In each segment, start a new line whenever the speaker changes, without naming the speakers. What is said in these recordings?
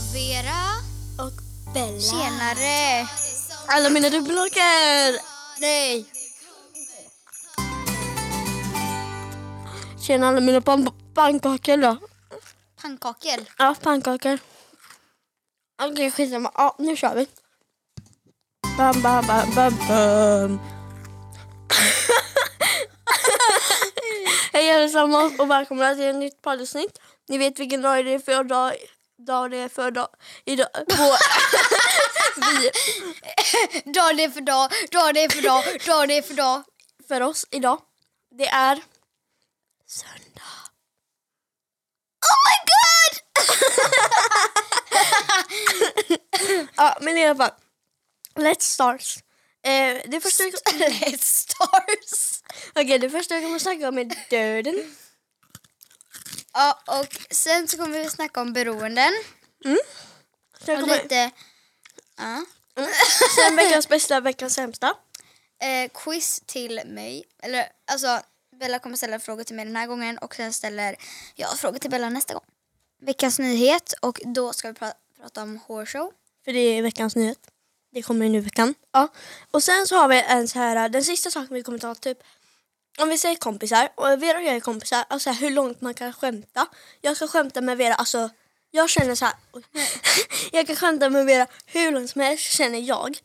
Sara.
Och Bella.
Senare.
Alla mina dubbelhaker! Nej! Tjena alla mina pan- pannkakor då.
Pannkakor.
Ja, pannkakor. Okej, skitsamma. Ja, nu kör vi. Bam, bam, bam, bam, bam. Hej allesammans och välkomna till ett nytt poddavsnitt. Ni vet vilken dag det är för dag, dag det är för dag. Idag, på, vi,
Dag det är för dag, dag det är för dag, dag det är för dag.
för oss idag. Det är söndag.
Oh my god!
Ja, men i alla fall. Let's start. Eh, det första vi...
Let's stars.
Okej, det första vi kommer snacka om är döden.
Ja, och sen så kommer vi snacka om beroenden.
Sen,
Och
kommer,
lite... Ja.
sen veckans bästa, veckans sämsta.
Eh, quiz till mig. Eller alltså, Bella kommer ställa frågor till mig den här gången och sen ställer jag frågor till Bella nästa gång. Veckans nyhet och då ska vi pra- prata om hårshow.
För det är veckans nyhet. Det kommer nu i veckan. Ja. Och sen så har vi en så här, den sista saken vi kommer ta typ. Om vi säger kompisar, och Vera och jag är kompisar, alltså hur långt man kan skämta. Jag ska skämta med Vera, alltså jag känner så här. oj. jag kan skämta med Vera hur långt som helst känner jag.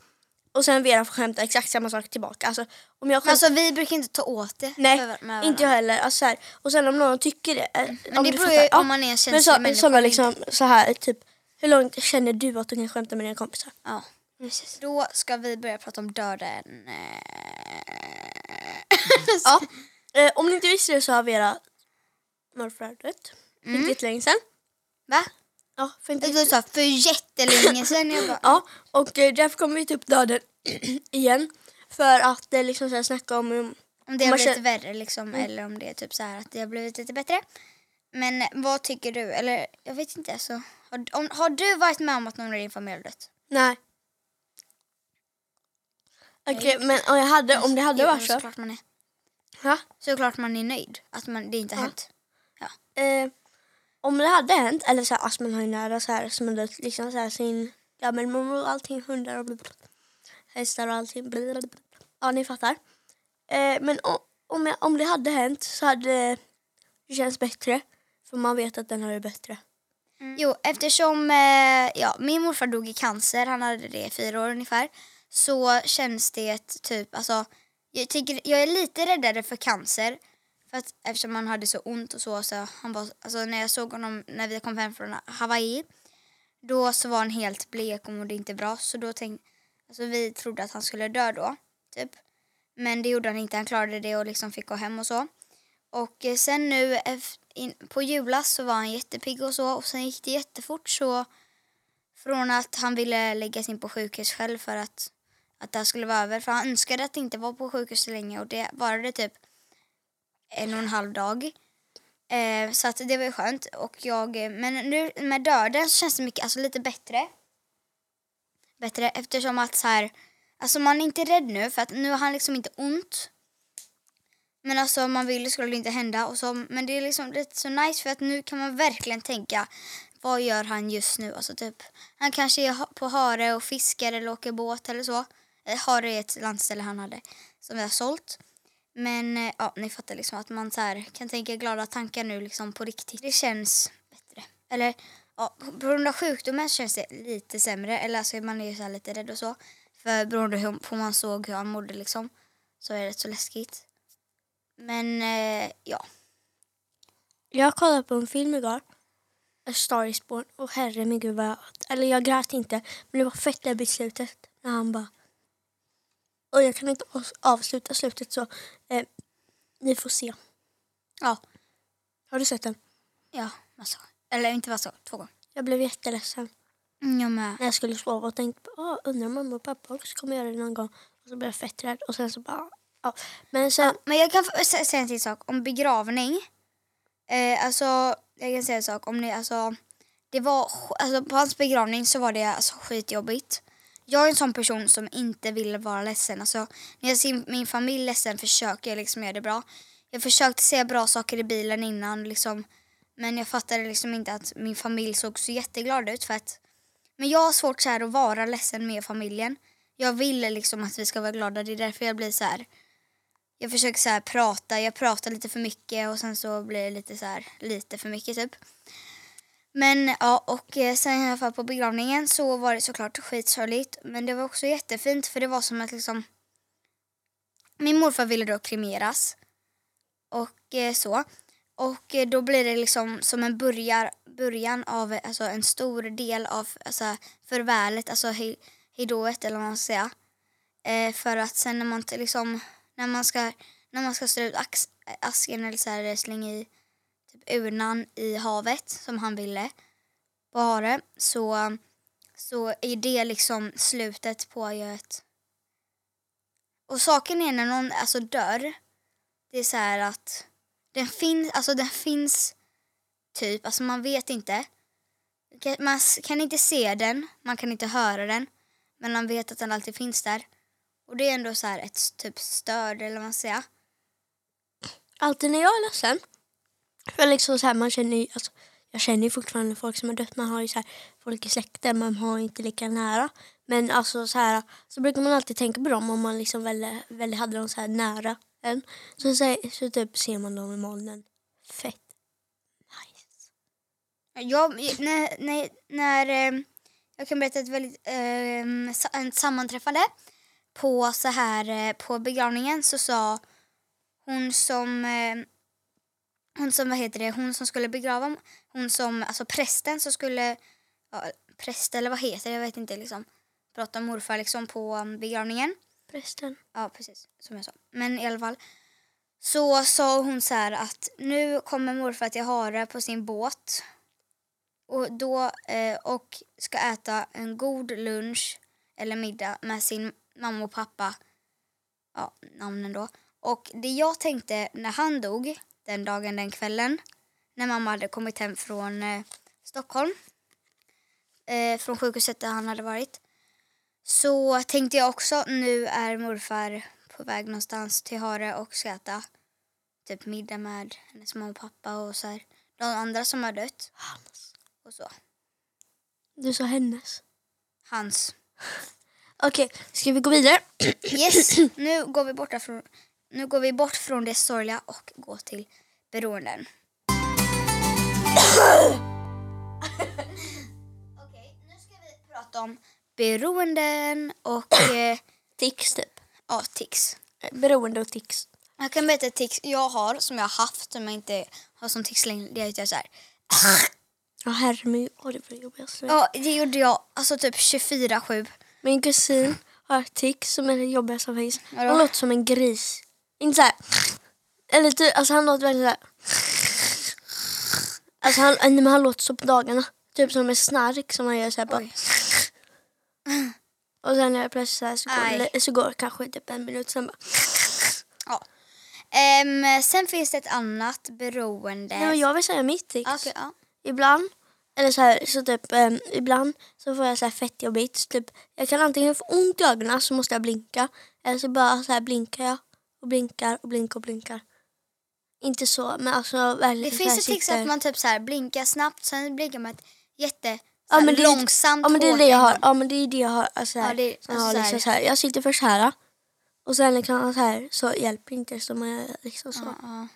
Och sen Vera får skämta exakt samma sak tillbaka. Alltså om jag skämtar,
Alltså vi brukar inte ta åt det.
nej,
för- med varandra.
inte jag heller. Alltså, så här. Och sen om någon tycker det. eh,
Men
om
det
du
beror
fattar,
ju
ja.
om man är en
Men
känslig
så,
människa.
sådana
eller
liksom, så här, typ, hur långt känner du att du kan skämta med dina kompisar?
Ja. Då ska vi börja prata om döden. Eh,
Ja. Eh, om ni inte visste det så har Vera morfar dött. För inte jättelänge sedan.
Va?
Mm. Ja, för inte
Du sa för jättelänge sedan. Jag bara,
Ja, och eh, därför kommer vi ta upp döden igen. För att eh, liksom så här, snacka om... Um,
om det
Om
har
man Mm.
blivit
känner-
värre liksom, eller om det är typ så här att det har blivit lite bättre. Men vad tycker du? Eller jag vet inte. Alltså, har, om, har du varit med om att någon i din familj har dött?
nej. Okej, men om, jag hade, om det hade
Jo,
varit så...
Alltså, Såklart man är,
Ha?
såklart man är nöjd att man, det inte har
Ja.
hänt.
Eh, om det hade hänt, eller så här, alltså man har ju nära så här som har dött, liksom så här sin gammelmormor och allting, hundar och blablabla, hästar och allting. Blablabla. Ja, ni fattar. Eh, men o- om, jag, om det hade hänt så hade det känts bättre. För man vet att den har det bättre.
Jo, eftersom eh, ja, min morfar dog i cancer, han hade det i fyra år ungefär, så känns det typ, alltså, jag, tycker, jag är lite räddare för cancer, för att, eftersom han hade så ont och så, så han var, alltså, när jag såg honom när vi kom hem från Hawaii, då så var han helt blek och mådde inte bra, så då tänkte, alltså, vi trodde att han skulle dö då, typ. Men det gjorde han inte, han klarade det och liksom fick gå hem och så. Och eh, sen nu ef- in- på julas så var han jättepigg och så och sen gick det jättefort så från att han ville läggas in på sjukhus själv för att, att det här skulle vara över för han önskade att inte vara på sjukhus så länge och det varade typ en och en halv dag. Eh, så att det var ju skönt och jag, eh, men nu med döden så känns det mycket, alltså lite bättre. Bättre eftersom att så här, alltså man är inte rädd nu för att nu har han liksom inte ont men alltså man vill skulle det inte hända. Och så, men det är liksom lite så nice för att nu kan man verkligen tänka vad gör han just nu? Alltså typ, han kanske är ha- på hare och fiskar eller åker båt eller så. Eh, Hare är ett landställe han hade som vi har sålt. Men eh, ja, ni fattar liksom att man så här, kan tänka glada tankar nu liksom på riktigt. Det känns bättre. Eller ja, på grund av sjukdomen känns det lite sämre. Eller alltså man är ju så här lite rädd och så. För beroende på hur- på hur man såg hur han mådde liksom så är det rätt så läskigt. Men eh, ja.
Jag kollade på en film igår, A Star is Born, och herre min gud vad jag, eller jag grät inte, men det var fett det beslutet när han bara, och jag kan inte avs- avsluta slutet så eh, ni får se.
Ja.
Har du sett den?
Ja, massa. Eller inte massa, två gånger.
Jag blev jätteledsen
Mm, jag med.
när jag skulle sova och tänkte på, "Åh, undrar om mamma och pappa också kommer göra det någon gång. Och så blev jag fett rädd och sen så bara, ja. Men sen,
Men jag kan f- sä- säga en till sak om begravning. Eh, alltså, jag kan säga en sak om det. Alltså, det var, sk- alltså, på hans begravning så var det alltså, skitjobbigt. Jag är en sån person som inte vill vara ledsen. Alltså, när jag ser min familj ledsen försöker jag liksom göra det bra. Jag försökte säga bra saker i bilen innan. Liksom, men jag fattade liksom inte att min familj såg så jätteglad ut. För att Men jag har svårt så här att vara ledsen med familjen. Jag vill liksom att vi ska vara glada. Det är därför jag blir så här. Jag försöker så här prata. Jag pratar lite för mycket och sen så blir det lite så här lite för mycket typ. Men ja, och eh, sen i alla fall på begravningen så var det såklart skitsorgligt. Men det var också jättefint för det var som att liksom min morfar ville då kremeras. Och eh, så. Och eh, då blir det liksom som en börjar, början av eh, alltså, en stor del av alltså, förvälet, alltså he- hejdået eller vad man ska säga. Eh, för att sen när man t- liksom, när man ska, när man ska slå ut ax, asken eller så här, eh, slänga i typ urnan i havet som han ville på Hare så, så är det liksom slutet på ett... Och saken är när någon alltså dör, det är så här att den finns, alltså den finns typ, alltså man vet inte. Ka- Man s- kan inte se den, man kan inte höra den, men man vet att den alltid finns där. Och det är ändå så här ett s- typ stöd eller vad man ska säga.
Alltid när jag är ledsen, för liksom så här, man känner ju, alltså, jag känner ju fortfarande folk som har dött. Man har ju så här, folk i släkten, man har ju inte lika nära. Men alltså så här, så brukar man alltid tänka på dem om man liksom väl, väl hade dem så här nära en. Så, så, så typ ser man dem i molnen. Fett nice.
Jag, när, när, när, eh, jag kan berätta ett väldigt, eh, sa- ett sammanträffande. På, så här, eh, på begravningen så sa hon som, eh, hon som, vad heter det, hon som skulle begrava, hon som, alltså prästen som skulle, ja, präst eller vad heter det, jag vet inte liksom, prata om morfar liksom på um, begravningen.
Prästen.
Ja, precis. Som jag sa. Men i alla fall. Så sa hon så här att nu kommer morfar till Hare på sin båt. Och då eh, och ska äta en god lunch eller middag med sin mamma och pappa. Ja, namnen då. Och det jag tänkte när han dog, den dagen, den kvällen, när mamma hade kommit hem från eh, Stockholm, eh, från sjukhuset där han hade varit, så tänkte jag också, nu är morfar på väg någonstans till Hare och ska äta typ middag med hennes mamma och pappa och så här, de andra som har dött
Hans.
och så.
Du sa hennes.
Hans.
Okej, ska vi gå vidare?
Yes, nu går vi bort från, nu går vi bort från det sorgliga och går till beroenden. Okej, nu ska vi prata om beroenden och eh,
Tics typ.
ja, tics.
Beroende och tics.
Jag kan berätta ett tics jag har som jag har haft som jag inte har som tics längre. Det är att jag så här.
Mm. Ja herregud, åh det var det jobbigaste.
Ja, det gjorde jag alltså typ 24-7.
Min kusin har ett tics som är det jobbigaste som finns.
Vadå?
Han låter som en gris. Inte så här. Eller typ, alltså han låter verkligen så här. Alltså han, nej, men han låter så på dagarna. Typ som en snark som han gör så här bara.
Oj.
Och sen när jag plötsligt så här så
Aj.
går, det, så går det kanske typ en minut sen bara.
Ja. Ehm, sen finns det ett annat beroende.
Nej, men jag vill säga mitt tics.
Ja, okej, ja.
Ibland, eller så här, så typ em, ibland så får jag så här fettjobbigt. Så Typ, jag kan antingen få ont i ögonen så måste jag blinka. Eller så bara så här blinkar jag och blinkar och blinkar och blinkar. Inte så, men alltså
Det
väldigt
finns ett tics att man typ så här blinkar snabbt, sen blinkar man ett jätte så
Ja,
här,
men det är-
långsamt
Ja men det är
hårt
det jag har.
ändå.
Ja men det är det jag har. Alltså, så här,
Ja, det är-
som
alltså
jag, har
så här-
liksom, så här, jag sitter först här och sen liksom, så här så hjälper inte så man gör liksom så.
Ja, ja.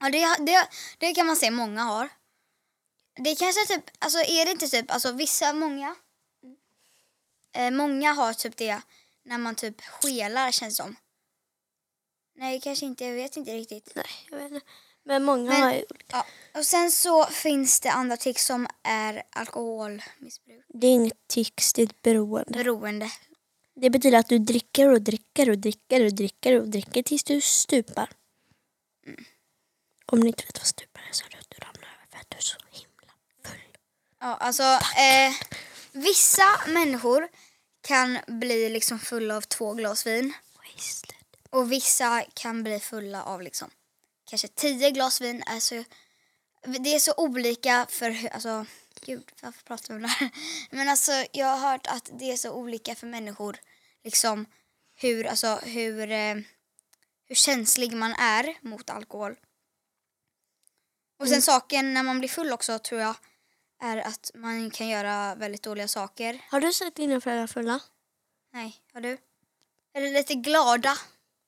ja det, det, det kan man se många har. Det kanske typ, alltså är det inte typ, alltså vissa, många. Eh, många har typ det när man typ skelar känns som. Nej, kanske inte, jag vet inte riktigt.
Nej jag vet inte. Men många
Men-
har ju
Ja. Och sen så finns det andra tics som är alkoholmissbruk.
Det är inget tics, det är ett beroende.
Beroende.
Det betyder att du dricker och dricker och dricker och dricker och dricker tills du stupar. Om ni inte vet vad stupar är så är det att du ramlar över för att du är så himla full.
Ja, alltså eh, vissa människor kan bli liksom fulla av två glas vin.
Wasted.
Och vissa kan bli fulla av liksom kanske tio glas vin. Alltså, det är så olika för hur- alltså, gud varför pratar vi om det här? Men alltså jag har hört att det är så olika för människor liksom hur, alltså hur, eh, hur känslig man är
Mm.
mot alkohol. Och sen saken när man blir full också tror jag är att man kan göra väldigt dåliga saker.
Har du sett dina föräldrar fulla?
Nej, har du? Eller lite glada.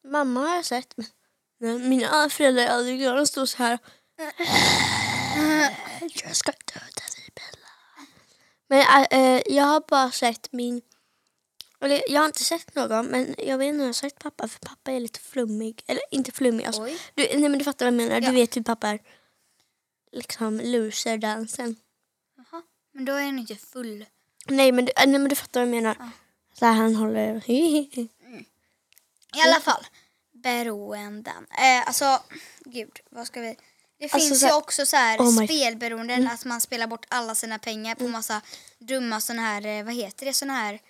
Mamma har jag sett. Men men mina föräldrar är aldrig glada. De står så här. Jag ska döda dig Bella. Men äh, äh, jag har bara sett min... Eller jag har inte sett någon men jag vet inte om jag har sett pappa för pappa är lite flummig. Eller inte flummig alltså.
Oj.
Du, nej men du fattar vad jag menar.
Ja.
Du vet hur pappa är. Liksom loserdansen.
Jaha. Men då är han inte full.
Nej men, du, äh, nej men du fattar vad jag menar.
Ja.
Så här han håller...
I alla fall. Beroenden. Eh, alltså, gud, vad ska vi... Det
Alltså
finns
så
ju
här-
också så här
Oh my- Mm.
spelberoenden, att man spelar bort alla sina pengar på massa dumma såna här, eh, vad heter det, såna här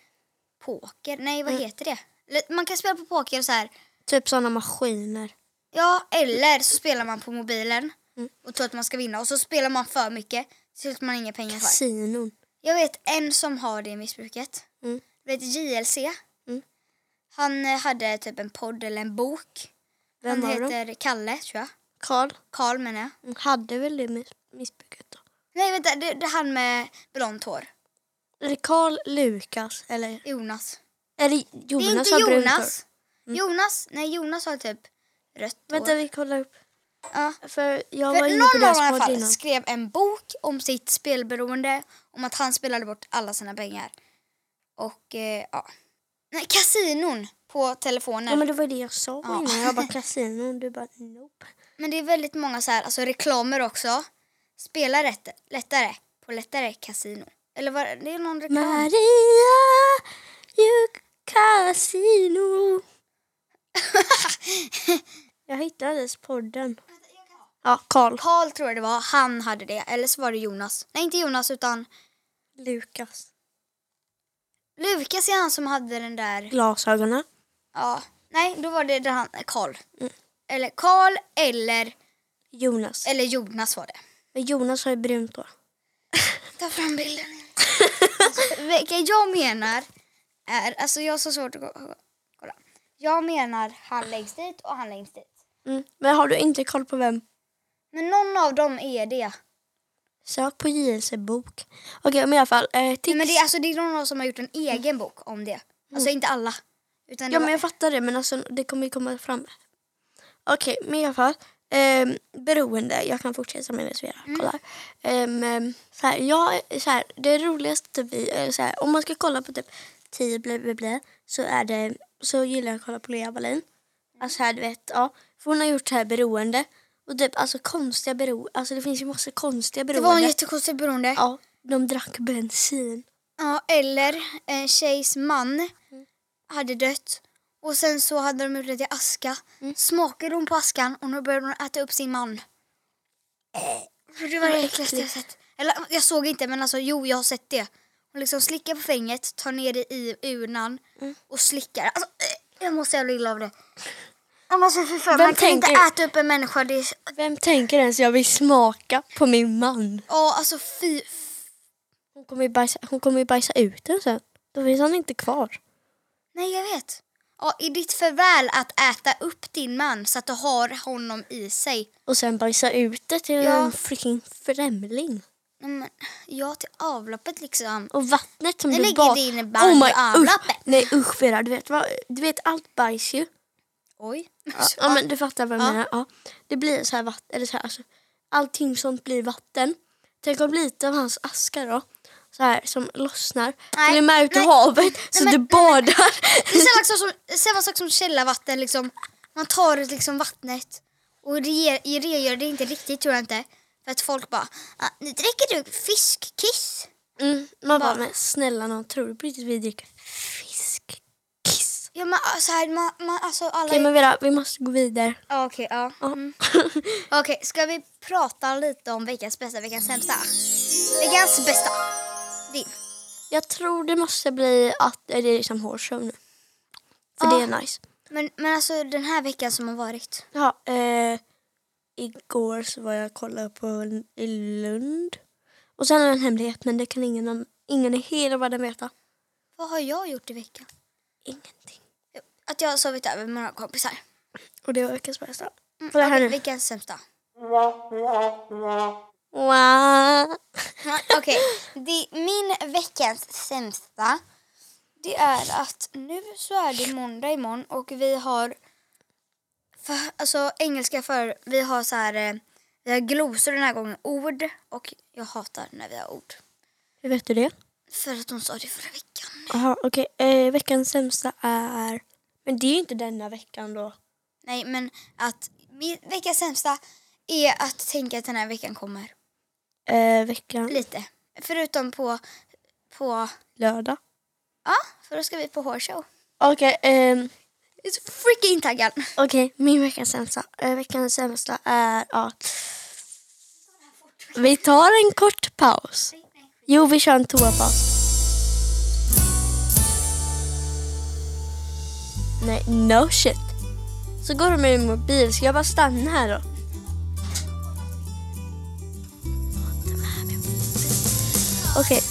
poker? Nej,
Mm.
vad heter det? Eller, Man kan spela på poker och så här,
Typ sådana maskiner.
ja, eller så spelar man på mobilen
Mm.
och tror att man ska vinna och så spelar man för mycket så att man har inga pengar kvar.
Kasinon.
Jag vet en som har det missbruket.
Mm.
Du vet JLC?
Mm.
Han eh, hade typ en podd eller en bok.
Vem
han
var det?
heter Kalle, tror jag.
Karl.
Karl menar jag.
Hon hade väl det miss- missbruket då?
Nej, vänta. Det, det är han med blont hår.
Är det Karl Lukas eller?
Jonas.
Är det
det är
Jonas
inte
har brunt hår? Mm.
Jonas. Jonas. Nej, Jonas har typ rött
Vänta
hår.
vi kollar upp.
Ja.
För jag var
För
inne på
någon av dem i
deras
alla
podd
fall
innan.
skrev en bok om sitt spelberoende. Om att han spelade bort alla sina pengar. Och eh, ja. Nej, kasinon på telefonen.
Ja men det var det jag sa
Ja.
innan. Jag bara kasinon. Du bara nope.
Men det är väldigt många så här, alltså reklamer också. Spela rätt, lättare på lättare kasino. Eller var, det är någon reklam.
Maria, you casino. jag hittade dess podden. Ja, Karl
Karl tror jag det var, han hade det. Eller så var det Jonas. Nej inte Jonas utan
Lukas.
Lukas är han som hade den där.
Glasögonen.
Ja, nej då var det där han, eh, Karl. Eller Karl eller,
Jonas.
eller Jonas var det.
Men Jonas har ju brunt hår.
Ta fram bilden. alltså, vilka jag menar är, alltså jag har så svårt att gå- kolla. Jag menar han längst dit och han längst dit.
Mm. Men har du inte koll på vem
Men någon av dem är det.
Sök på JLC bok. Okej, men i alla fall. Eh, tips.
Nej, men det, är- alltså, det är någon som har gjort en egen bok om det. Alltså inte alla. Utan
Mm.
det
Ja,
var-
men jag fattar det, men alltså, det kommer ju komma fram. Okej, men i alla fall. Eh, beroende. Jag kan fortsätta med det så jag
Mm.
kollar. Ehm, Eh, så här, jag, så här, det roligaste typ, i- eh, så här, om man ska kolla på typ 10 blä, blä, blä, så, är det, så gillar jag att kolla på Lea Wallin. Alltså här, du vet, ja. För hon har gjort så här beroende. Och typ alltså konstiga beroende. Alltså det finns ju massa
det
konstiga beroende.
var en jättekonstig beroende. Ja.
Ja, de drack bensin.
eller en tjejs man
Mm.
hade dött. Och sen så hade de gjort det till aska.
Mm.
Smakade hon på askan och nu började hon äta upp sin man. För det var det äckligaste jag sett. Eller jag såg inte men alltså jo jag har sett det. Hon liksom slickar på fänget, tar ner det i urnan
Mm.
och slickar. Alltså, eh, jag måste jävla illa av det. Ja, men Alltså, fy fan,
Vem
man kan inte
tänker-
äta upp en människa, det är
Vem tänker ens jag vill smaka på min man?
Ja, alltså fy. f-
Hon kommer ju bajsa, hon kommer ju bajsa ut den sen. Då finns han inte kvar.
Nej, jag vet. Ja, I ditt förväl att äta upp din man så att du har honom i sig.
Och sen bajsa ut det till
Ja.
en freaking främling.
Nej, Men, ja, till avloppet liksom.
Och vattnet som
Nu
du
ligger
ba- Oh
det inne i barn- avloppet.
usch, Nej usch Vera, du vet, vad, du vet allt bajs ju.
Oj.
Ja, ja men du fattar vad jag
Ja.
menar. Ja. Det blir så här vatten, eller så här, alltså, allting sånt blir vatten. Tänk om lite av hans aska då, så här som lossnar,
Nej,
följer med ut i
nej.
havet så
men-
du badar.
Det är samma sak som, samma sak som källarvatten. Liksom. Man tar ut liksom vattnet och re- rengör det inte riktigt, tror jag inte. För att folk bara, ah, nu dricker du fiskkiss.
Mm, man bara,
Bara-
men snälla någon tror du på riktigt vi dricker fiskkiss?
Ja, men ah, så här, man, man, alltså alla...
Okej men Vera, vi måste gå vidare.
Ja, Okej, ja. Mm. Okej, ska vi prata lite om veckans bästa, veckans sämsta? Veckans bästa. Din.
Jag tror det måste bli att eh, det är som hårshow nu. För det är nice.
Men, men alltså den här veckan som har varit.
Ja, eh, igår så var jag och kollade på en- i Lund. Och sen har jag en hemlighet men det kan ingen, om- ingen i hela världen veta.
Vad har jag gjort i veckan?
Ingenting.
Jo, Att jag har sovit över med några kompisar.
Och det var veckans bästa.
Mm,
Kolla här
okej,
nu.
Veckans sämsta.
Wow.
Ja, Okej, Det- min veckans sämsta det är att nu så är det måndag imorgon och vi har för, alltså engelska för vi har så här eh, vi har glosor den här gången, ord och jag hatar när vi har ord.
Hur vet du det?
För att hon sa det förra veckan.
Jaha, okej. Eh, veckans sämsta är... Men det är ju inte denna veckan då.
Nej men att min veckans sämsta är att tänka att den här veckan kommer.
Eh, veckan
Lite. Förutom på, på,
lördag.
ja för då ska vi på hårshow.
Okej, ehm,
Jag är så freaking taggad.
okej. Min veckans sämsta, eh, veckans sämsta är att... Vi tar en kort paus. Jo, vi kör en toapaus. Nej, no shit. Så går de med min mobil. Ska jag bara stanna här då? Okej.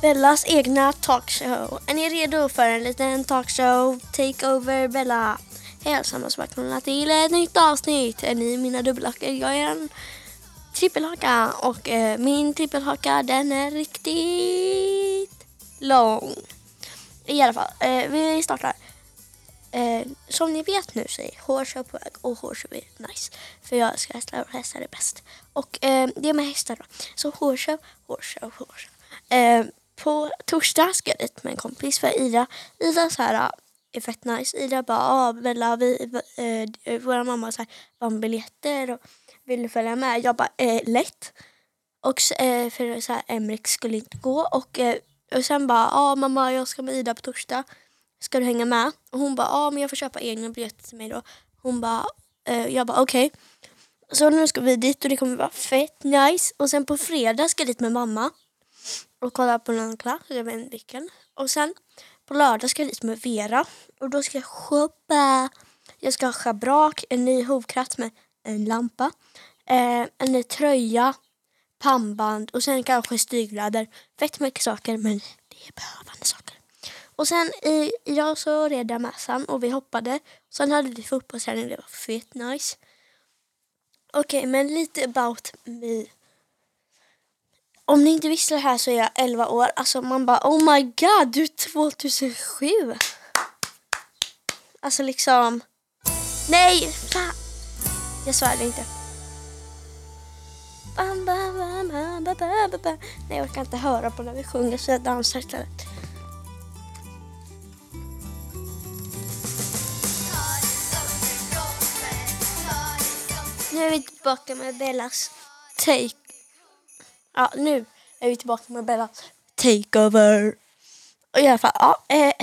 Bellas egna talkshow. Är ni redo för en liten talkshow? Takeover Bella. Hej allesammans välkomna till ett nytt avsnitt. Är ni mina dubbelhakar? Jag är en trippelhaka och eh, min trippelhaka den är riktigt lång. I alla fall, eh, vi startar. Eh, som ni vet nu så är hårshow på väg och hårshow är nice. För jag älskar hästar och hästar är bäst. Och eh, det är med hästar då. Så hårshow, hårshow, hårshow. Eh, på torsdag ska jag dit med en kompis för Ida. Ida så här äh, är fett nice. Ida bara, ah, Bella, vi, eh, våra mamma så här, vann biljetter och vill du följa med? Jag bara, eh, lätt. Och så, eh, för så här, Emrik skulle inte gå och, eh, och sen bara, ja ah, mamma jag ska med Ida på torsdag. Ska du hänga med? Och hon bara, ja ah, men jag får köpa egna biljetter till mig då. Hon bara, eh, jag bara okej. Så nu ska vi dit och det kommer vara fett nice. Och sen på fredag ska jag dit med mamma och kolla på någon klass, jag vet inte vilken. Och sen på lördag ska jag dit med Vera och då ska jag shoppa. Jag ska ha schabrak, en ny hovkratt med en lampa, eh, en ny tröja, pannband och sen kanske stygläder. Fett mycket saker men det är behövande saker. Och sen i, idag så red jag mässan och vi hoppade. Sen hade vi fotbollsträning det var fett nice. Okej men lite about me. Om ni inte visste det här så är jag 11 år. Alltså man bara oh my god du är 2007. Alltså liksom. Nej! Fan. Jag svär inte. Bam, bam, bam, bam, bam, bam, bam. Nej jag orkar inte höra på när vi sjunger så jag dansar istället. Nu är vi tillbaka med Bellas take. Ja, nu är vi tillbaka med Bellas takeover. Och I alla fall, ja. Eh,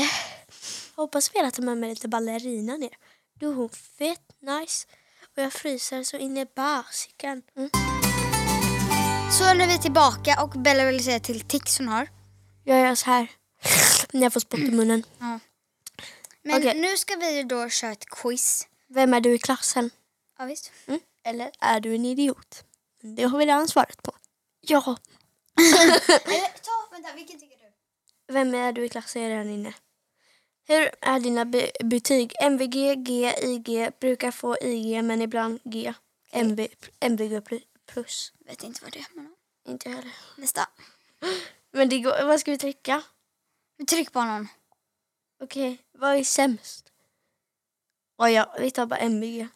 hoppas vi alla tar med mig lite ballerina ner. Då är hon fett nice. Och jag fryser så in i basiken. Mm.
Så nu är vi tillbaka och Bella vill säga till tics hon har.
Jag gör så här när jag får spott i munnen.
Men
Okej.
nu ska vi ju då köra ett quiz.
Vem är du i klassen?
Ja, visst.
Mm. Eller är du en idiot? Det har vi redan svarat på. Ja.
Eller, ta, vänta, vilken tycker du?
Vem är du i klassen är redan inne? Hur är dina be- betyg? MVG, G, IG. Brukar få IG men ibland G. MV, MVG pl- plus.
Vet inte vad det är. Men... ja.
Inte heller.
Nästa.
Men det går, vad ska vi trycka?
Men Tryck på någon.
Okej, vad är sämst? Oh ja, vi tar bara MVG.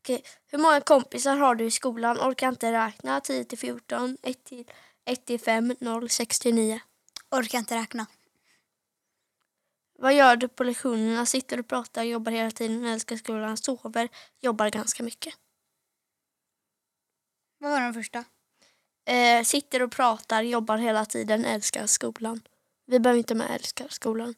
Okej, hur många kompisar har du i skolan? Orkar inte räkna. 10 till 14, 1 till, 1 till 5, 0, 6 till 9.
Orkar inte räkna.
Vad gör du på lektionerna? Sitter och pratar, jobbar hela tiden, älskar skolan, sover, jobbar ganska mycket.
Vad var den första?
Eh, sitter och pratar, jobbar hela tiden, älskar skolan. Vi behöver inte med älskar skolan.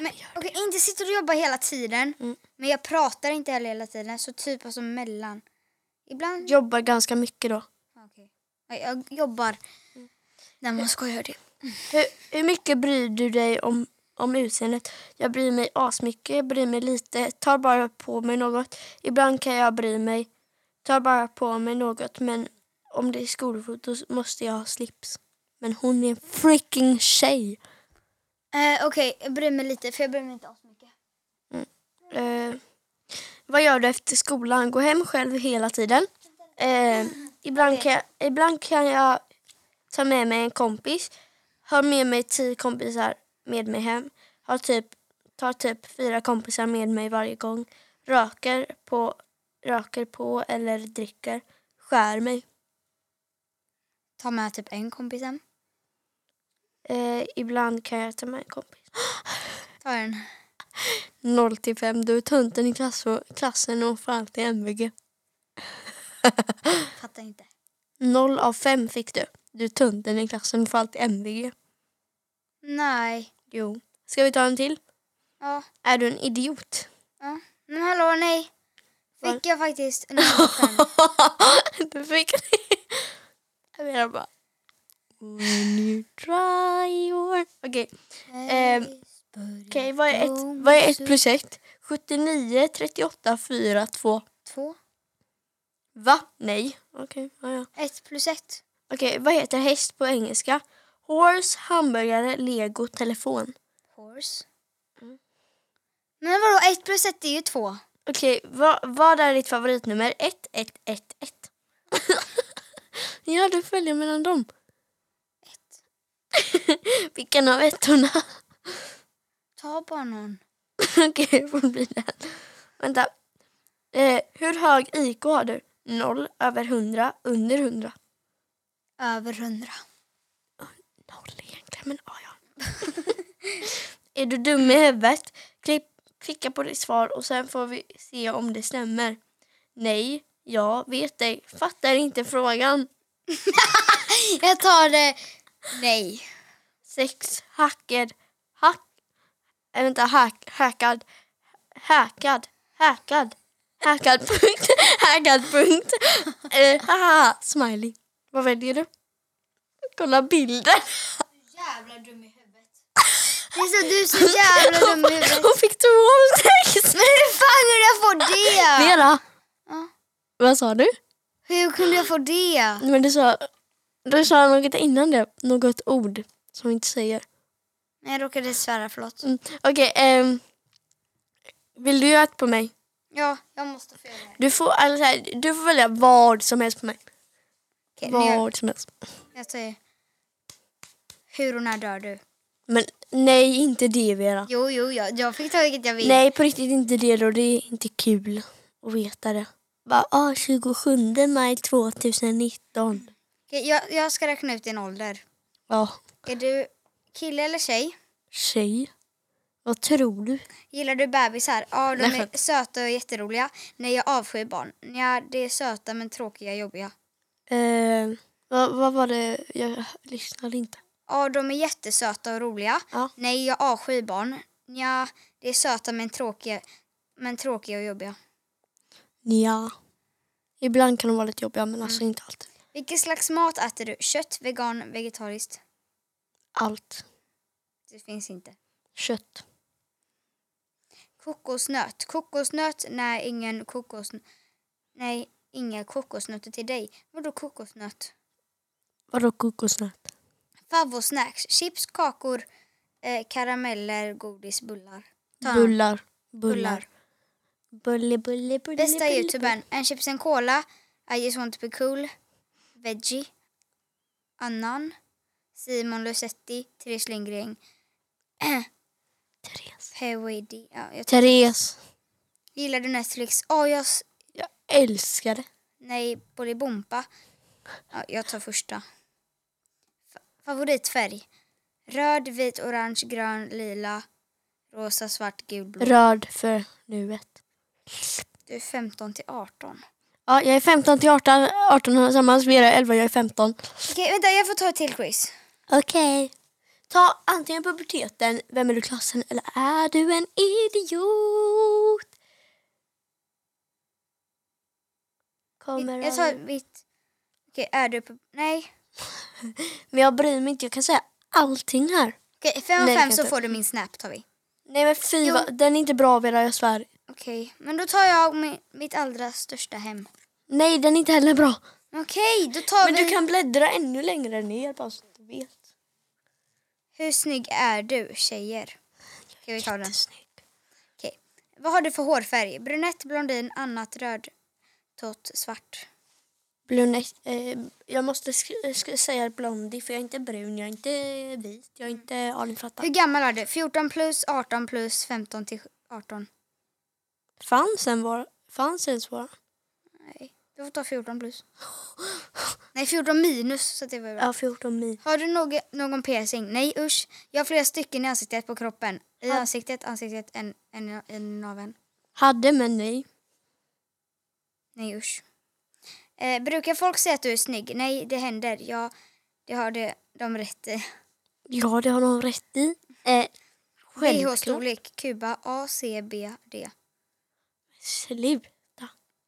Men, okej, inte sitter och jobbar hela tiden.
Mm.
Men jag pratar inte heller hela tiden. Så typ alltså mellan. Ibland.
Jobbar ganska mycket då.
Ja, okej. Ja, Jag jobbar.
Mm.
När man skojar typ. det.
Hur, hur mycket bryr du dig om, om utseendet? Jag bryr mig asmycket, jag bryr mig lite, tar bara på mig något. Ibland kan jag bry mig, tar bara på mig något men om det är skolfoto så måste jag ha slips. Men hon är en freaking tjej!
Eh, okej, jag bryr mig lite. För jag bryr mig inte alls mycket.
Eh, vad gör du efter skolan? Gå hem själv hela tiden? Eh, ibland, kan jag, ibland kan jag ta med mig en kompis. Har med mig tio kompisar med mig hem. Har typ, tar typ fyra kompisar med mig varje gång. Röker på, röker på eller dricker. Skär mig.
Ta med typ en kompis hem.
Eh, ibland kan jag ta med en kompis.
Ta den.
0 till 5, du är tönten i klass klassen och får alltid MVG.
Fattar inte.
0 av 5 fick du. Du är tönten i klassen och får alltid MVG.
Nej.
Jo. Ska vi ta en till?
Ja.
Är du en idiot?
ja. Men hallå, nej.
Var?
Fick jag faktiskt en annan fem.
du fick det. Jag menar bara... When you try your... Okej, Ehm, okej, vad är ett, vad är ett plus ett? 79, 38, 4, 2.
Två.
Va? Nej. Okej, ja, ja.
Ett plus ett.
Okej, vad heter häst på engelska? Horse, hamburgare, lego, telefon.
Horse.
Mm.
Men vadå, ett plus ett är ju två.
Okej, vad, vad är ditt favoritnummer? 1, 1, 1, 1. Ja, du följer mellan dem. Ett. Vilken av ettorna?
Ta bara någon.
Okej, det får bli den. Vänta. Eh, hur hög IQ har du? 0, över 100, under 100.
Över hundra.
noll egentligen, men ja, ja. är du dum i huvudet? Klick, klicka på ditt svar och sen får vi se om det stämmer. Nej, jag vet dig. Fattar inte frågan.
Jag tar det. Nej.
Sex, hackad, hack... Äh, vänta, hack, hackad, hackad, hackad, hackad, punkt, hackad, punkt. Eh, haha, smiley. Vad väljer du? Kolla bilden.
Jävla dum i huvudet. Det är så, du är så jävla dum i huvudet.
Hon fick två av sex.
Men hur fan kunde jag få det?
Vera,
Ja.
vad sa du?
Hur kunde jag få det?
Men du sa, du sa något innan det, något ord som vi inte säger.
Nej, Jag råkade svära, förlåt.
Mm. Okej, ehm, vill du göra ett på mig?
Ja, jag måste få göra det.
Du får, alltså, så här, du får välja vad som helst på mig.
Okej, nu gör-
Vad som helst.
jag säger. Hur och när dör du?
Men nej, inte det Vera.
Jo, jo, jag, jag fick ta vilket jag vill.
Nej, på riktigt inte det då. Det är inte kul att veta det. Bara, ah, 27 maj 2019.
Okej, jag, jag ska räkna ut din ålder.
Ja,
Är du kille eller tjej?
tjej. Vad tror du?
Gillar du bebisar? Ja, de
Nej,
är söta och jätteroliga. Nej, jag avskyr barn. Ja, det är söta men tråkiga och jobbiga.
Eh, vad, vad var det? Jag lyssnade inte.
Ja, de är jättesöta och roliga.
Ja.
Nej, jag avskyr barn. Ja, det är söta men tråkiga, men tråkiga och jobbiga.
Ja. Ibland kan de vara lite jobbiga men alltså
Mm.
inte alltid.
Vilken slags mat äter du? Kött, vegan, vegetariskt?
Allt.
Det finns inte.
Kött.
Kokosnöt. Kokosnöt? Nej, ingen kokosnöt. Nej, inga kokosnötter till dig. Vadå kokosnöt?
Vadå kokosnöt?
Favvosnacks. Chips, kakor, eh, karameller, godis, bullar. Ta en.
Bullar. Bullar. Bulle, bulle, bulle.
Bästa
bulle,
youtubern. En chips and cola. I just want to be cool. Veggie. Annan. Simon Lusetti. Therese Lindgren.
bulle. Therese.
PWD. Ja, jag
Therese.
gillar du Netflix? Åh, jag... s-
Jag älskar det.
Nej, Bolibompa. Ja, jag tar första. Fa- Favoritfärg? Röd, vit, orange, grön, lila, rosa, svart, gul, blå.
Röd för nuet.
Du är 15 till 18.
Ja, jag är 15 till 18. 18 har tillsammans. Vera är 11, jag är 15.
Okej, vänta, jag får ta ett till quiz.
Okej. Ta antingen puberteten, vem är du i klassen eller är du en idiot? Kommer
Jag tar
aldrig-
mitt... Okej, är du på... Nej.
Men jag bryr mig inte, jag kan säga allting här.
Okej, fem av
Nej, det
fem
kan
så
inte.
får du min snap tar vi.
Nej men fy,
Jo.
va, den är inte bra Vera, jag svär.
Okej, men då tar jag mi- mitt allra största hem.
Nej, den är inte heller bra.
Okej, då tar
Men
vi...
du kan bläddra ännu längre ner bara så att du vet.
Hur snygg är du, tjejer? Okej, vi tar den.
Jättesnygg.
Okej. Vad har du för hårfärg? Brunett, blondin, annat, röd, tott, svart.
Brun, eh, jag måste sk- sk- säga blondie för jag är inte brun, jag är inte vit, jag är inte... Ja, ni fattar.
Hur gammal är du? 14 plus, 18 plus, 15 till 18?
Fanns en vår? Fanns ens vår?
Nej, du får ta 14 plus. Nej, 14 minus så att det var bra.
Ja, 14 mil.
Har du någon, någon piercing? Nej usch. Jag har flera stycken i ansiktet på kroppen. I
Ja.
ansiktet, ansiktet, en, en, en naveln.
Hade men nej.
Nej usch. Eh, brukar folk säga att du är snygg? Nej, det händer. Ja, det har det, de rätt i.
Ja, det har de rätt i. Eh, självklart.
BH-storlek, kuba, A, C, B, D.
Sluta.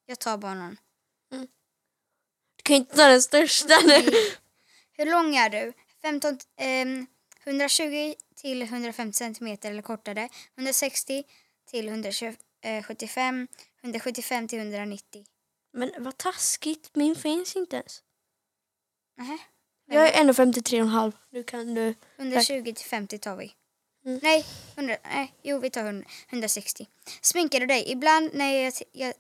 Jag tar bara någon.
Du kan ju inte ta den största nu.
Hur lång är du? 15, ehm, 120 till 150 centimeter eller kortare. 160 till 175. 175 till 190.
Men vad taskigt, min finns inte ens.
Nähä.
Jag är 1,53,5. Nu kan du...
120 till 50 tar vi.
Mm.
Nej, 100, nej, jo vi tar 100, 160. Sminkar du dig? Ibland när jag, jag,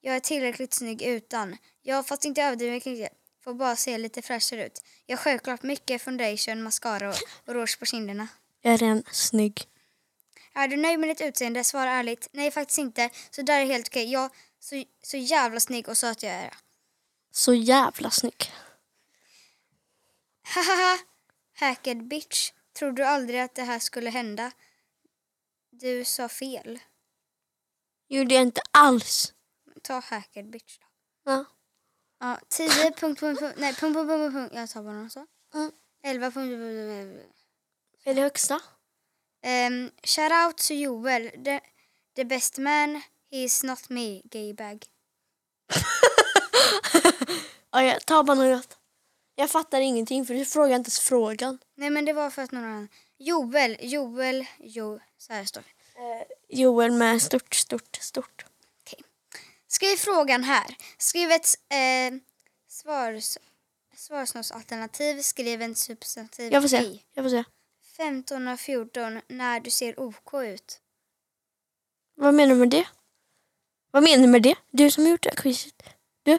jag är tillräckligt snygg utan. Jag fast inte överdrivet mycket. Får bara se lite fräschare ut. Jag har självklart mycket foundation, mascara och, och rouge på kinderna.
Jag är redan snygg.
Är du nöjd med ditt utseende? Svara ärligt. Nej, faktiskt inte. Så där är helt okej. Jag så, så jävla snygg och söt jag är.
Så jävla snygg.
Hahaha! Hacked bitch. Tror du aldrig att det här skulle hända? Du sa fel.
Gjorde jag inte alls.
Ta hacked bitch då.
Ja.
Ja, 10 punkt, punkt, punkt, nej, punkt, punkt, punkt, punkt. Jag tar bara någon så.
Mm.
11 punkt, punkt, punkt, punkt.
Är det högsta?
Um, shout out to Joel. The, the best man, he is not me, gay bag.
Ja, jag tar bara något. Jag fattar ingenting för du frågar inte ens frågan.
Nej men det var för att någon annan. Joel, Joel, Jo. Så här står det.
Joel med stort, stort, stort.
Skriv frågan här. Skriv ett eh, svars, svarsmålsalternativ. Skriv en substantiv.
Jag får se.
ej.
Jag får se.
15 och 14, när du ser OK ut.
Vad menar du med det? Vad menar du med det? Du som har gjort det här quizet. Du,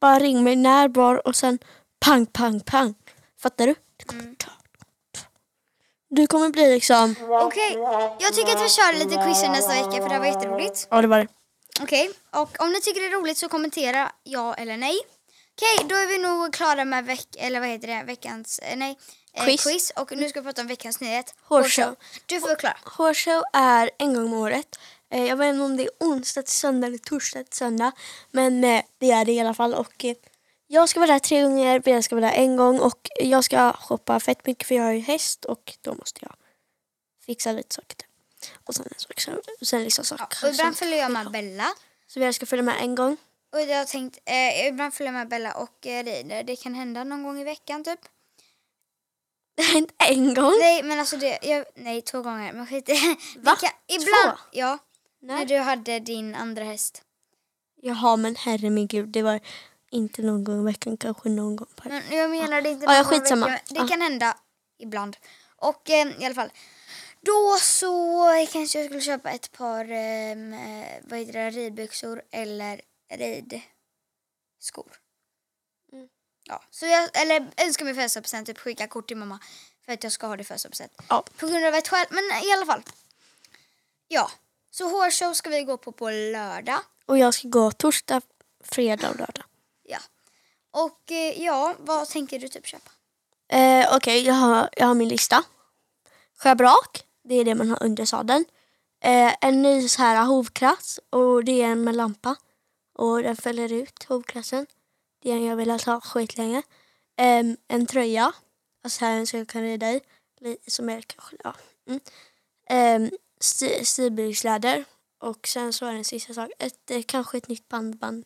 bara ring mig när, var och sen pang, pang, pang. Fattar du? Du kommer, ta, du kommer bli liksom...
Okej, jag tycker att vi kör lite quiz nästa vecka för det här var jätteroligt.
Ja, det var det.
Okej, och om ni tycker det är roligt så kommentera ja eller nej. Okej, då är vi nog klara med veck, eller vad heter det? veckans eh, nej, eh,
Quiz.
quiz. Och nu ska vi prata om veckans nyhet.
Hårshow.
Du får förklara.
Hårshow är en gång om året. Eh, Jag vet inte om det är onsdag till söndag eller torsdag till söndag. Men eh, det är det i alla fall. Och eh, jag ska vara där tre gånger, Bea ska vara där en gång. Och jag ska shoppa fett mycket för jag har ju häst och då måste jag fixa lite saker. till. Och sen, så- och sen liksom
Ja,
saker.
och ibland
sånt.
följer jag med Bella.
Så Bea ska följa med en gång.
Och jag har tänkt, eh, ibland följer jag med Bella och eh, rider. Det kan hända någon gång i veckan typ.
Inte en gång?
Nej, men alltså det, jag, nej två gånger, men skit i.
Mm. Va?
Vi kan- Ibland,
Två?
ja. När
Nej.
du hade din andra häst.
Jaha men herre min gud, det var inte någon gång i veckan, kanske någon gång per
Men jag menar det är inte
Ja, ja,
någon gång i
skitsamma.
veckan, men Det
Ja.
kan hända ibland. Och eh, i alla fall. Då så kanske jag skulle köpa ett par ehm, eh, vad heter det, ridbyxor eller ridskor.
Mm.
Ja, så jag, eller önskar mig födelsedagspresent, typ skicka kort till mamma för att jag ska ha det i födelsedagspresent.
Ja.
På grund av ett skäl, men i alla fall. Ja, så hårshow ska vi gå på på lördag.
Och jag ska gå torsdag, fredag och lördag.
Ja. Och eh, ja, vad tänker du typ köpa?
Eh, Okej, jag, har, jag har min lista. Schabrak, det är det man har under sadeln. Eh, en ny så här hovkrans och det är en med lampa. Och den fäller ut hovkransen. Det är en jag velat ha skitlänge. Ehm, en tröja, alltså här en som jag kan rida i. li- Som är kanske, ja. Mm. Ehm, sti- Stilbyggsläder. Och sen så är det en sista sak, ett, eh, kanske ett nytt bandband.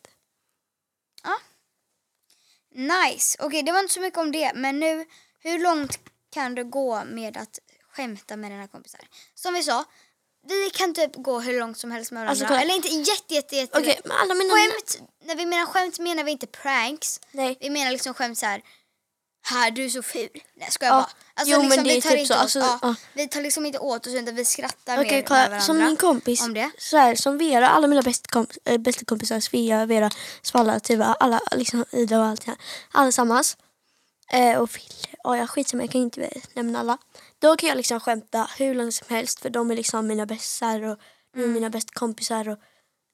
Nice. Okej, det var inte så mycket om det. Men nu, hur långt kan du gå med att skämta med dina kompisar? Som vi sa, vi kan typ gå hur långt som helst med varandra.
Alltså, kolla.
Eller inte jätte, jätte, jätte...
Okej, men alla mina...
Skämt, när vi menar skämt menar vi inte pranks.
Nej.
Vi menar liksom skämt så här. här du är så ful. Nej ska jag
Ja.
bara. Alltså,
Jo, men
liksom,
det är
vi tar
typ
inte
så.
åt-
Alltså,
ja,
ja.
Vi tar liksom inte åt oss utan vi skrattar
Okej,
mer med
kolla.
varandra.
Som min kompis,
om det.
Så här, som Vera, alla mina bästa, komp- äh, bästa kompisar, Svea, Vera, Svalla, Tuva, alla, liksom Ida och allt det här. Allesammans. Eh, och Fille, ja jag skitsamma, jag kan inte eh, nämna alla. Då kan jag liksom skämta hur långt som helst för de är liksom mina bästar och de är mina bästa kompisar. Och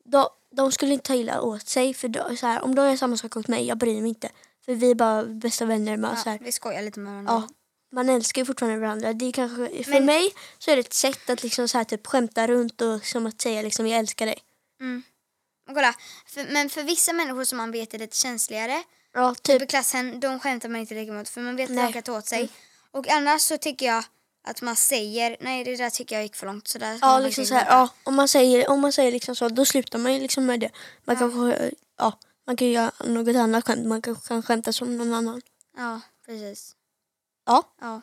de, de skulle inte ta illa åt sig för då, så här, om de gör samma sak mot mig, jag bryr mig inte. För vi är bara bästa vänner. Med, så
Ja,
här.
vi skojar lite med varandra.
Ja, man älskar ju fortfarande varandra. Det är kanske, för
Men-
mig så är det ett sätt att liksom så här typ skämta runt och som att säga liksom jag älskar dig.
Mm. Men kolla, för, men för vissa människor som man vet är lite känsligare,
Ja,
typ
typ.
i klassen, de skämtar man inte lika mycket för man vet att
Nej. Mm.
de kan ta åt sig. Och annars så tycker jag att man säger, nej det där tycker jag gick för långt. Så där ska
Ja,
man
liksom
faktiskt
så här,
inte-
ja, om man säger, om man säger liksom så, då slutar man ju liksom med det. Man kanske, ja, man kan ju göra något annat skämt, man kanske kan skämta som någon annan.
ja, precis.
Ja,
Ja.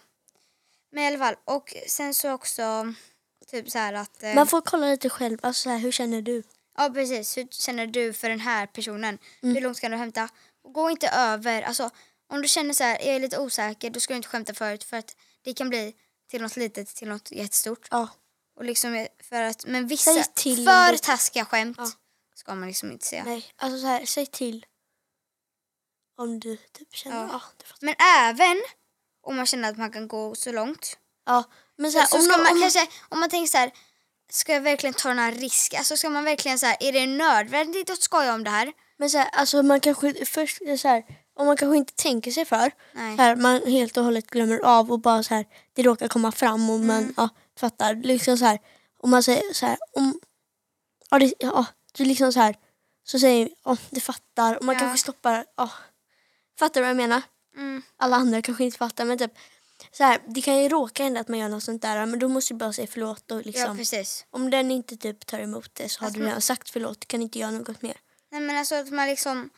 Men i alla fall, och sen så också typ så här att... Eh,
man får kolla lite själv, alltså så här, hur känner du?
Ja, precis. Hur känner du för den här personen?
Mm.
Hur långt ska du hämta? Gå inte över. Alltså, om du känner så här, jag är lite osäker, då ska du inte skämta förut för att det kan bli till något litet, till något jättestort.
Ja,
Och liksom för att, men vissa
Säg till
för
om det-
taskiga skämt
Ja.
ska man liksom inte säga.
nej, alltså så här, säg till. Om du typ känner,
Ja.
ja, du fattar.
Men även om man känner att man kan gå så långt.
Ja, men så här,
så
om,
ska
någon-
man
om,
kanske, om man tänker så här, ska jag verkligen ta den här risken? Alltså ska man verkligen så här, är det nödvändigt att skoja om det här?
Men så här, alltså man kanske först, så här, om man kanske inte tänker sig för,
Nej.
så här, man helt och hållet glömmer av och bara så här, det råkar komma fram och man
Mm.
ja, fattar. Liksom så här, om man säger så här, om, ja, det, ja, det är liksom så här, så säger ja, det fattar och man
Ja.
kanske stoppar, ja, fattar du vad jag menar?
Mm.
Alla andra kanske inte fattar men typ, så här, det kan ju råka hända att man gör något sånt där men då måste du bara säga förlåt och
Ja,
liksom,
precis.
om den inte typ tar emot det så har
Fast
du
man-
redan sagt förlåt, du kan inte göra något mer.
Nej men alltså att man liksom,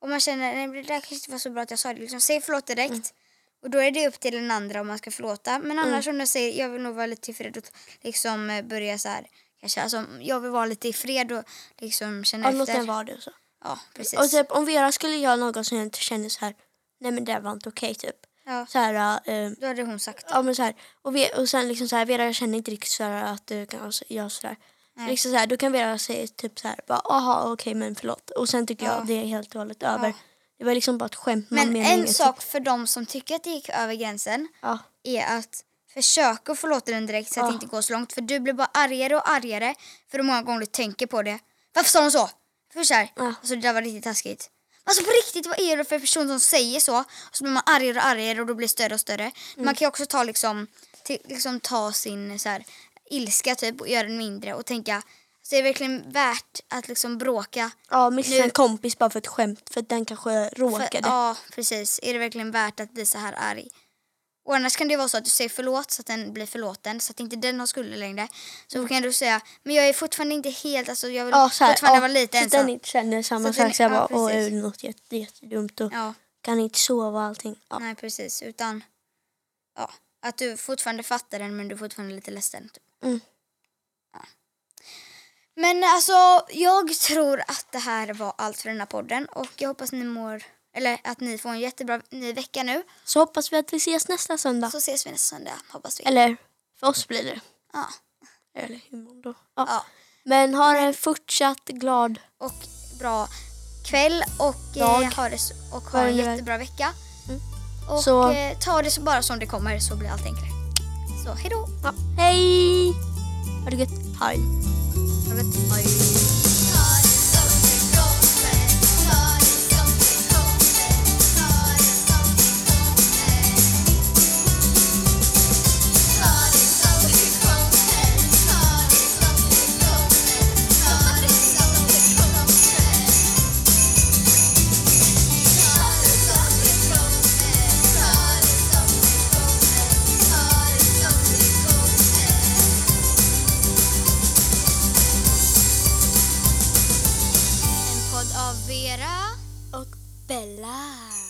om man känner nej men det där kanske inte var så bra att jag sa det, liksom, säg förlåt direkt. Och då är det upp till den andra om man ska förlåta.
Mm.
Men annars om du säger, jag vill nog vara lite tillfred och liksom eh, börja så här, kanske, alltså jag vill vara lite i fred och liksom känna
Ja, låt
efter.
den vara det och så.
Ja, precis.
Och typ om Vera skulle göra något som jag inte känner så här, nej men det där var inte okej typ.
ja,
Så här, eh,
då hade hon sagt det.
ja men så här, och, vi, och sen liksom så här, Vera jag känner inte riktigt så här att du kan göra så där.
Nej.
Liksom så här, då kan Vera säga typ så här, bara aha okej men förlåt. Och sen tycker
Ja.
jag det är helt och hållet över.
Ja.
Det var liksom bara ett skämt. man
Men
menar
en
inget,
sak för de som tycker att det gick över gränsen
typ- Ja.
är att försöka förlåta den direkt så att
Ja.
det inte går så långt. För du blir bara argare och argare för hur många gånger du tänker på det. Varför sa hon så? Först såhär,
Ja.
alltså det där var riktigt taskigt. Alltså på riktigt, vad är det för person som säger så? Och så blir man argare och argare och då blir det större och större. Man kan ju också ta liksom, till, liksom ta sin så här, ilska typ och göra den mindre och tänka, så är det verkligen värt att liksom bråka?
Ja, missa
Nu-
en kompis bara för ett skämt för att den kanske råkade.
För, ja, precis. Är det verkligen värt att bli så här arg? Och annars kan det ju vara så att du säger förlåt så att den blir förlåten, så att inte den har skulder längre. Så kan du säga, men jag är fortfarande inte helt, alltså jag vill
Mm. Ja, så här,
fortfarande
ja,
vara lite
så att den
ensam.
inte känner samma
att den-
sak. Så jag
ja,
bara, åh, är
precis.
det något jätte- jättedumt och
Ja,
kan inte sova och allting. Ja.
nej precis. Utan ja, att du fortfarande fattar den men du är fortfarande lite ledsen. Typ.
Mm.
Ja. Men alltså, jag tror att det här var allt för den här podden och jag hoppas ni mår, eller att ni får en jättebra ny vecka nu.
Så hoppas vi att vi ses nästa söndag.
Så ses vi nästa söndag, hoppas vi.
Eller för oss blir det.
Ja.
Eller imorgon då. Ja.
Ja.
Men ha en fortsatt glad
och bra kväll och
Dag.
eh, ha, det, s- och ha en
Vad är det?
jättebra vecka.
Mm.
Och
Så-
eh, ta det så bara som det kommer så blir allt enklare. Så hej då!
ja. Hej! Ha det gött. Hej.
Ha det gott. Hej. En podd av Vera
Och Bella.